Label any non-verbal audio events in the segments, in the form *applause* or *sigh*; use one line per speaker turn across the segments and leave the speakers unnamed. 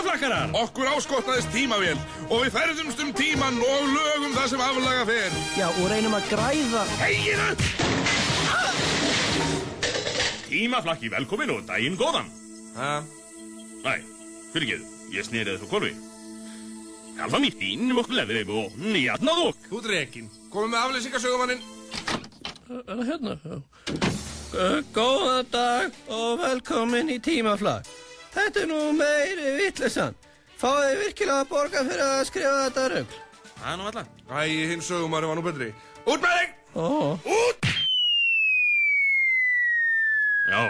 aflakarar
Okkur áskotnaðist tímavél og við ferðumst um tíman og lögum það sem aflaga fer.
Já, og reynum að græða
Heginu!
Tímaflakki velkomin og daginn góðan
Ha?
Æ, fyrirgeðu, ég snýriði þú korfi Halvan í þín og lefrið og nýjarnað og
Þú drekin. Komum með aflýsingasögumannin.
Er það hérna? Já. Gó- Góðan dag og velkomin í tímaflag. Þetta er nú meiri vittlesan. Fáðu virkilega að borga fyrir að skrifa þetta rögl.
Það er nú alltaf
Æ, hinn sögumannin var nú betri. Út með þig!
Ó,
Já,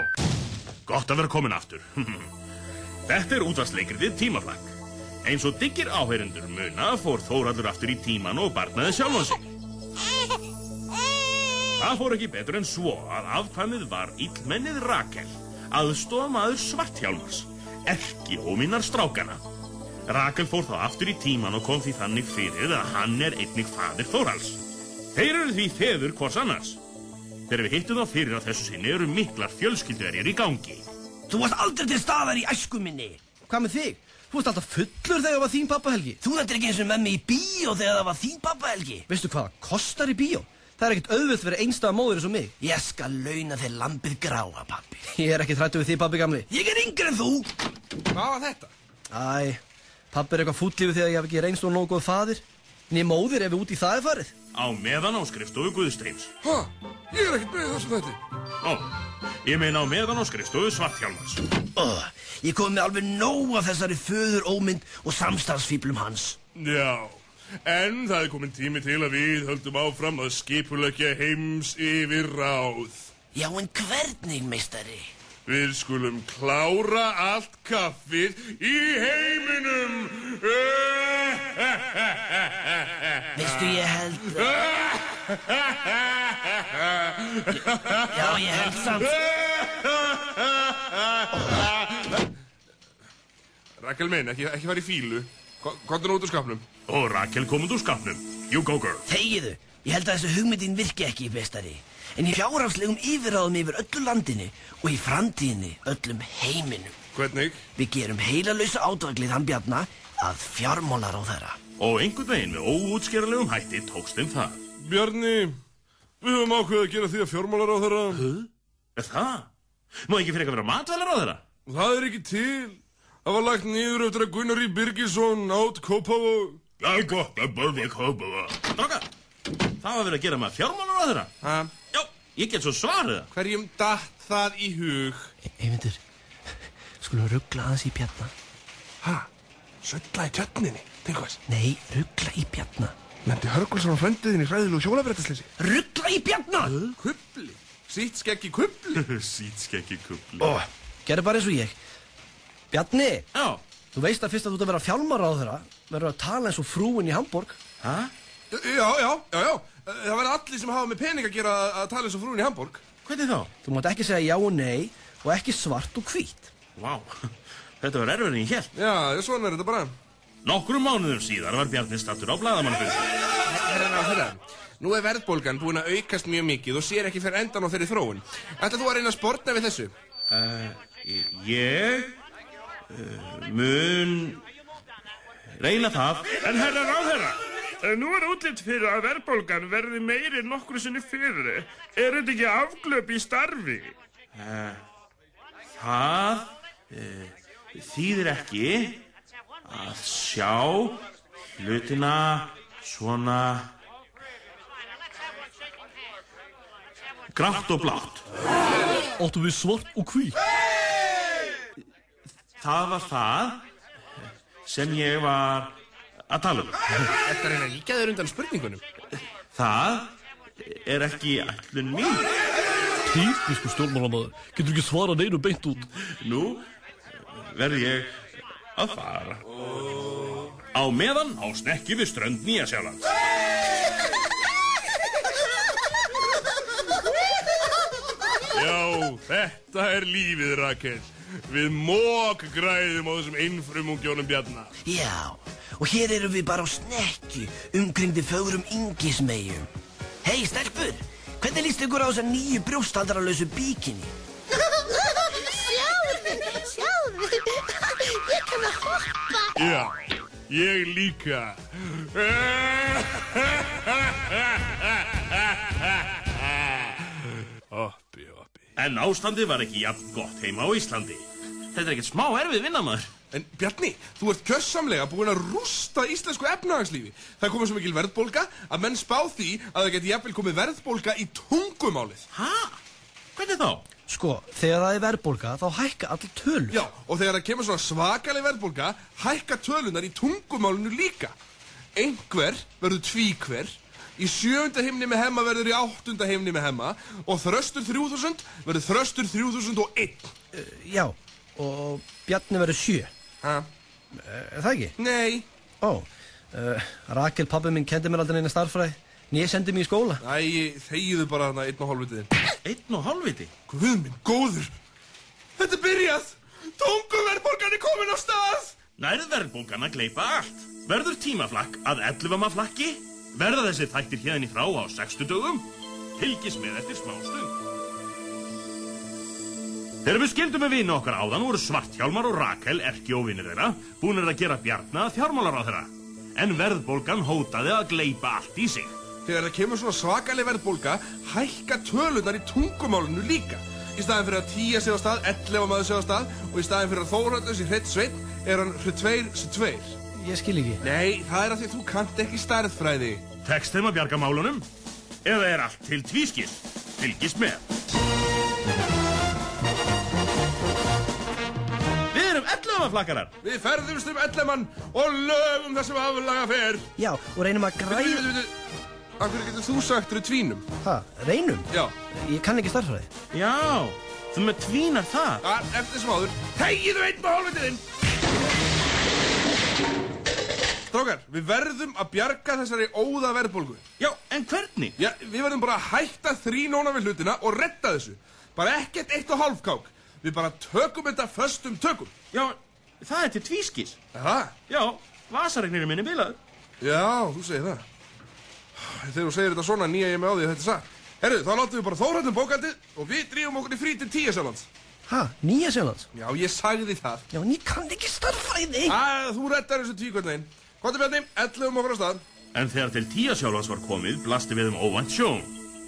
gott að vera komin aftur. *laughs* Þetta er útvarsleikritið tímaflag. Eins og diggir áheyrendur muna fór Þóraldur aftur í tíman og barnaði sjálfan sig. Það fór ekki betur en svo að afkvæmið var illmennið Rakel, aðstofamaður svarthjálmars, ekki óminnar strákana. Rakel fór þá aftur í tíman og kom því þannig fyrir að hann er einnig fadir Þóralds. Þeir eru því feður hvors annars. Þegar við hittum þá fyrir á þessu sinni eru miklar fjölskylduverjar í gangi.
Þú varst aldrei til staðar í æsku minni.
Hvað með þig? Þú ert alltaf fullur þegar var þín pappa Helgi
Þú þetta ekki eins og með mig í bíó þegar það var þín pappa Helgi.
Veistu hvað það kostar í bíó? Það er ekkert auðvöld fyrir einstæða móður eins og mig *laughs*
Ég skal launa þér lambið gráa, pappi.
Ég er ekki trættu við því pappi gamli
Ég er yngri en þú.
Hvað var þetta?
Æ, pappi er eitthvað fúll yfir því að ég hef ekki reynst og nógu góð fadir Né móðir ef við út í það er farið
Á meðan á skrifstofu Guðstreims.
Ha? Ég er ekkert með þessum þetta.
Ó, ég meina á meðan á skrifstofu Svarthjálmars.
Oh, ég kom með alveg nóg af þessari föður ómynd og samstarfsfýblum hans.
Já, en það er komin tími til að við höldum áfram að skipulegja heims yfir ráð.
Já, en hvernig, meistari?
Við skulum klára allt kaffið í heiminum.
Veistu, ég held... Já, ég held samt...
Rakel minn, ekki, ekki fara í fílu. Kondur út úr skapnum.
Og Rakel kom út úr skapnum. You go girl.
Þegiðu, ég held að þessu hugmyndin virki ekki, meistari. En í fjárhagslegum yfirráðum yfir öllu landinu og í framtíðinni öllum heiminum.
Hvernig?
Við gerum heilalösa átvaglið hann bjarna að fjármólar á þeirra.
Og einhvern veginn með óútskeralegum hætti tókst þeim það.
Bjarni, við höfum ákveðið að gera því að fjármálar á þeirra.
Er það? Má ekki fyrir eitthvað vera matvælar á þeirra?
Það er ekki til. Það var lagt niður eftir að Gunnar í Birgisson átt Kópavog.
Já, gott að börja kópa það. Dráka, það var verið að gera maður fjármálar á þeirra.
Ha?
Já, ég get svo svarið
*laughs*
það.
Hverjum datt það í hug?
Eyvindur, skulum ruggla aðeins í bjarna.
Ha? Sölla í tjötninni, til hvers?
Nei, ruggla í bjarna.
Nefndi Hörgulsson á fröndiðin í hræðilegu hjólabrættisleysi.
Ruggla í bjarna!
Kubli? Sýtt skeggi kubli?
Sýtskekki kubli.
oh. Gerðu bara eins og ég Bjarni,
Já,
þú veist að fyrst að þú ert að vera fjálmar á þeirra Verður að tala eins og frúin í Hamburg
hæ?
Já, já, já, já. Það verða allir sem hafa með pening að gera að tala eins og frúin í Hamburg.
Hvernig þá?
Þú mátt ekki segja já og nei og ekki svart og hvít
Vá, *laughs* þetta var erfið en ég held.
Já, svona er þetta bara.
Nokkrum mánuðum síðar var Bjarni stattur á bladamannfund.
Herran á þeirra. Nú er verðbólgan búin að aukast mjög mikið og sér ekki fyrir endan á þeirri þróun. Ætla þú að reyna að sportna við þessu?
Ég uh, mun reyna það.
En herra ráðherra, eh, nú er útlitt fyrir að verðbólgan verði meiri en nokkru sinni fyrir. Er þetta ekki afglöp í starfi?
Eh, Það uh, þýðir ekki að sjá hlutina svona grátt og blátt.
Óttu við svart og hvít
Það var það sem ég var að tala um.
Þetta reyna að líka þér undan spurningunum.
Það er ekki allun mín.
Típisku stjórnmálamæður, getur ekki svara neinu beint út
Nú verð ég að fara. Á meðan á snekki við strönd Nýja Sjálands.
Já, þetta er lífið, Rakel. Við mók græðum á þessum innfrumungjónum bjarna.
Já, og hér erum við bara á snekju umkringdi fögrum yngismeyjum. Hei, stelpur, hvernig líst ykkur á þessa nýju brjósthaldaralösu bíkinni?
Sjáðu, sjáðu, ég Langar mig að hoppa?
Já, ég líka. Oppi, oppi.
En ástandið var ekki jafn gott heima á Íslandi. Þetta er ekkert smá erfið vinnamaður.
En Bjarni, þú ert kjössamlega búinn að rústa íslensku efnahagslífi. Það komið svo mikil verðbólga að menn spá því að það geti jafnvel komið verðbólga í tungumálið.
Hæ? Hvernig þá?
Sko, þegar það er verðbólga þá hækka all tölur.
Já, og þegar það kemur svona svakaleg verðbólga, hækka tölunar í tungumálinu líka. Einhver verður tvíhver, í sjöunda himni með hemma verður í áttunda himni með hemma og þröstur 3000 verður þröstur 3001.
Já, og Bjarni verður sjö.
Ha?
Er það ekki?
Nei.
Ó, uh, Rakel pabbi minn kendi mér aldrei neina starffræði. En ég sendi mig í skóla.
Æ, þegiðu bara þarna einn og hálfvitiðin.
Einn og hálfviti.
Guð minn, góður. Þetta er byrjað. Tungumverðbólgan er komin á stað.
Nærð verðbólgan að gleipa allt. Verður tímaflakk að 11 maður flakki? Verða þessi þættir hérna í frá á 60 dögum? Fylgis með eftir smástund. Þegar við skildum með vini okkar áðan voru Svarthjálmar og Rakel, erki og vinir þeirra, búinir að gera bjarna að fjármálar á þeirra. En verðbólgan hótaði að gleipa allt í sig.
Þegar það kemur svona svakaleg verðbólga, hækka tölunar í tungumálinu líka. Í staðin fyrir að tíja sig á stað, 11 maður sig á stað og í staðin fyrir að þóröldur sig hreitt sveitt er hann hreitt tveir sem tveir.
Ég skil ekki.
Nei, það er að því að þú kannt ekki stærðfræði.
Tekst þeim að bjarga málunum? Eða er allt til tvískil? Fylgist með. Við erum 11 flakkarar.
Við ferðumst um 11 mann og lögum það sem aflaga fer.
Já, og reynum að
Bíddu,
græða...
bíddu, bíddu. Af hverju getur þú sagt rutvínum?
Hæ, reynum?
Já,
Ég kann ekki starffræði.
Já, þú með tvínar það.
að, eftir sem áður, þegiðu einn og hálfvitiðinn! Strákar, við verðum að bjarga þessari óða verðbólgu.
Já, en hvernig?
Já, við verðum bara að hætta þrínóna við hlutina og retta þessu. Bara ekkert eitt og hálfkák. Við bara tökum þetta föstum tökum.
Já, það er til tvískil.
Aha,
Já, vasaregnir minni bilað.
já, þú segir það. Þegar þú segir þetta svona nýja ég með á því að þetta er satt. Herru, þá látum við bara þórhættum bókaldið og við drýjum okkur í frí til tíu sjálfans.
Hæ, nýja sjálfans?
Já, ég sagði það.
Já, en ég kann ekki starffræði.
Að, þú rettar þessu tíkvöldin. Kvartu Bjarni, um ellum okkur á stað.
En þegar til tíja sjálfans var komið, blasti við um óvænt sjón.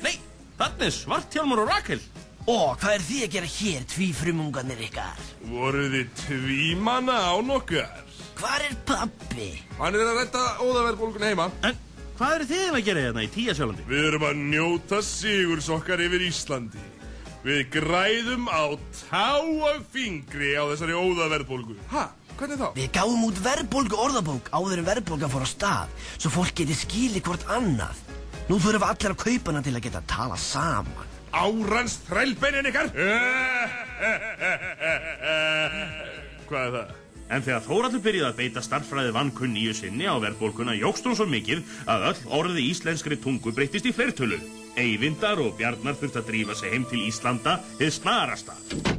Nei, þarna er Svarthjálmur og Rakel.
Ó, hvað er þið að gera hér, tvífrumunganir ykkar?
Voruð þið tvímanna án okkar?
Hvar er pabbi?
Hann er að retta óðaverðbólgun heima.
En hvað eru þið að gera hérna í tíja sjálfandi?
Við erum að njóta sigurs okkar yfir Íslandi. Við græðum á táa fingri á þessari óðaverðbólgu.
Ha, hvernig þá?
Við gáum út verðbólgu orðabók áður en verðbólga fór á stað svo fólk geti skilið hvort annað. Nú þurfum allir að kaupa hana til að geta að tala saman.
Árans þrælbeinin ykkar.
Eh,
Hvað er það?
En þegar Þóraldur byrjaði að beita starffræði vannkunn nýju sinni á verðbólkuna jókst hún svo mikið að öll orði íslenskri tungu breyttist í fleirtölu. Eyvindar og Bjarnar þurfti að drífa sig heim til Íslanda hið snarasta.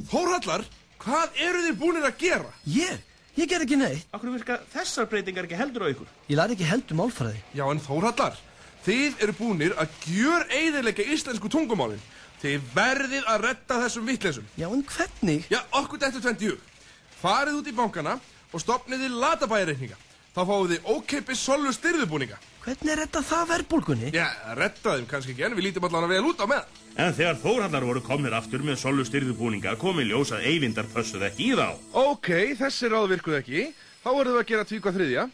Þórhallar, hvað eru þið búinir að gera?
Ég? Ég ger ekki neitt.
Akkur virka þessar breytingar ekki heldur á ykkur?
Ég lær ekki heldur málfræði.
Já, en Þórhallar, þið eru búinir að gjör eiðilegja íslensku tungumálin. Þið verðið að retta þessum vittleysum.
Já, en hvernig?
Já, okkur dættu 20. Farið út í bankana og stopnið þið latabæjarreikninga. Þá fáið þið ókeipis sollu styrðubúninga.
Hvernig er þetta það verðbólgunni?
Já, retta þeim kannski ekki en við lítum allan að vel út á meðan.
En þegar Þórallar voru komnir aftur með solu styrðubúninga komi ljós að Eyvindar pössuð ekki í þá.
Ok, þessi ráð virkuð ekki. Þá verðum við að gera tvíkvað þriðja.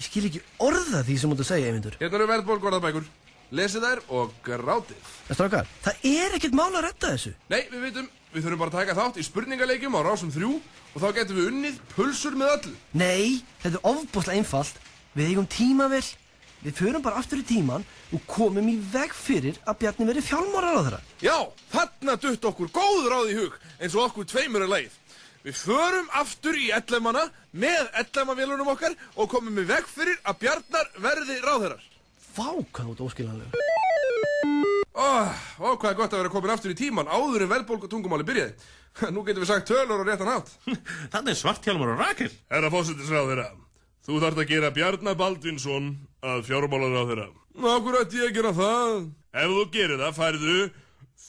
Ég skil ekki orða því sem þú ert að segja, Eyvindur.
Hérna eru verðbólgorðabækur. Lesið þær og grátið.
En strákar, það er ekkert mál að retta þessu.
Nei, við veitum, við þurfum bara að taka þátt í spurningaleikjum á rásum þrjú og þá getum við unnið pulsur með öllu.
Nei, þetta er ofbúslega einfalt. Við eigum tímavel. Við förum bara aftur í tíman og komum í veg fyrir að Bjarni veri fjálmárar á þeirra.
Já, þarna dutt okkur góð ráð í hug eins og okkur tveimur er leið. Við förum aftur í ellemana með ellemavélunum okkar og komum við veg fyrir að bjarnar verði ráðherrar.
Vá, hvað þú ert óskiljanlega.
Oh, og hvað er gott að vera komin aftur í tíman áður en verðbólk og tungumáli byrjaði. *laughs* Nú getum við sagt tölur og réttan hátt.
Þannig Svarthjálmur og Rakel.
Herra fósittisráð þeirra, þú þart að gera Bjarnar Baldvinsson að fjármálaráð þeirra.
Ná, okkur ætti ég að gera það?
Ef þú gerir það, færðu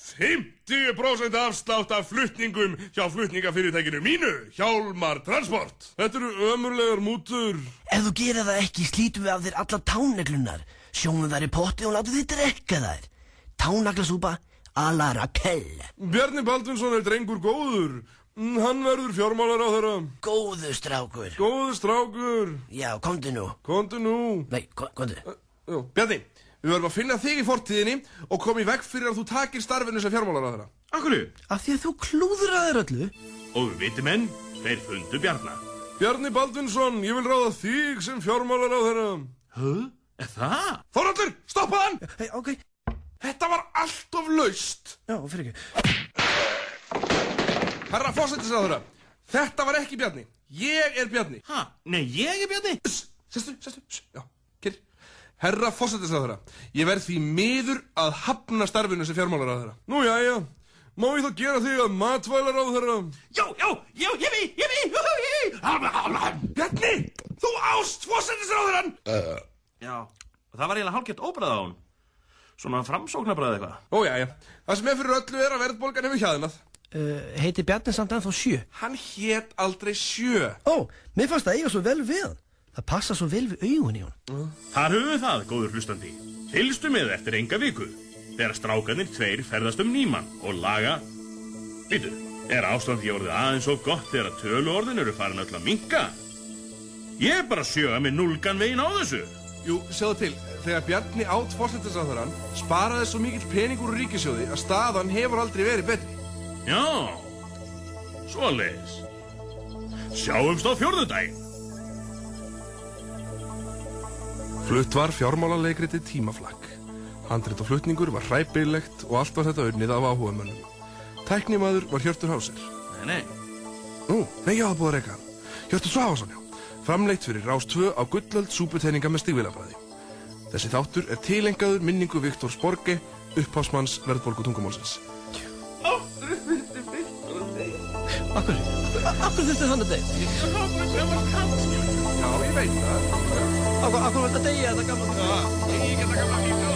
50% afslátt af flutningum hjá flutningafyrirtækinu mínu, Hjálmar Transport. Þetta eru ömurlegar mútur.
Ef þú gerir það ekki slítum við af þér alla táneglunar Sjónum þær í potti og látum þið drekka þær Tánaglasúpa a la Raquel
Bjarni Baldvinsson er drengur góður. Mm, Hann verður fjármálar á þeirra.
Góðu strákur
Góður strákur,
Já, komdu nú
kontu nú.
Nei, ko- komdu
Jú, Bjarni, við verðum að finna þig í fortíðinni og koma í veg fyrir að þú takir starfinu sem fjármálar á þeirra.
Akkurru?
Af því að þú klúðraðir öllu
Og viti menn, þeir fundu Bjarnar.
Bjarni Baldvinsson, ég vil ráða þig sem fjármálar á þeirra.
Höh? Er það?
Þoraldur, stoppa hann!
Hei, ok,
Þetta var allt of laust.
já, fyrir ekki
Herra fósættisraðurra, þetta var ekki Bjarni. Ég er Bjarni.
Ha? Nei, ég er Bjarni?
Sss, Sestu, sestu, sss, já, kyrr. Herra fósættisraðurra, ég verð því miður að hafna starfinu sem fjármálar á þeirra. Nú, já, já, má ég þá gera þig að matvælar á þeirra?
Jó, jó, jó, ég vi, ég vi, hú, hú, hú.
Bjarni, þú ást fósættisraðurran!
Já, og það var eiginlega hálfgett óbræð á hún. Svona framsóknarbræð eitthvað.
Ó, já, já, það sem er fyrir öllu er að verðbólgan hefur hjaðinað.
uh, Heiti Bjarni samt ennþá sjö
Hann hét aldrei sjö.
Ó, mér fannst það eiga svo vel við hann Það passa svo vel við augun í hann
Þar höfum við það, góður hlustandi. Fylgstu með eftir enga viku. Þegar strákanir tveir ferðast um nýmann og laga... Býtu, er ástand því orðið aðeins of gott þegar að töluorðin eru farin öll að minka? Ég er bara að sjöga með núlgan veginn á þessu.
Jú, sjáðu til, þegar Bjarni átt fórsættisáþarann sparaði svo mikill pening úr ríkisjóði að staðan hefur aldrei verið betri.
Já, svoleiðis. Sjáumst á fjórðudaginn.
Flutt var fjármálarleikritið tímaflakk. Handrit og flutningur var hræpilegt og allt var þetta unnið af áhugamönnum. Tæknimaður var Hjörtur Hásir.
Nei, nei.
Nú, nei, já, það er búið að reyka hann. Hjörtur Svafarsson, já. Framleitt fyrir Rás 2 á gullöld súputeininga með stigvilabræði. Þessi þáttur er tilengaður minningu Viktor Sporge, upphásmanns verðbólgu tungumálsins.
Akkur, akkur þurfti þannig að deyja
Já, ég veit það.
Akkur, akkur var þetta að deyja þetta gamla
Ég get að gafla að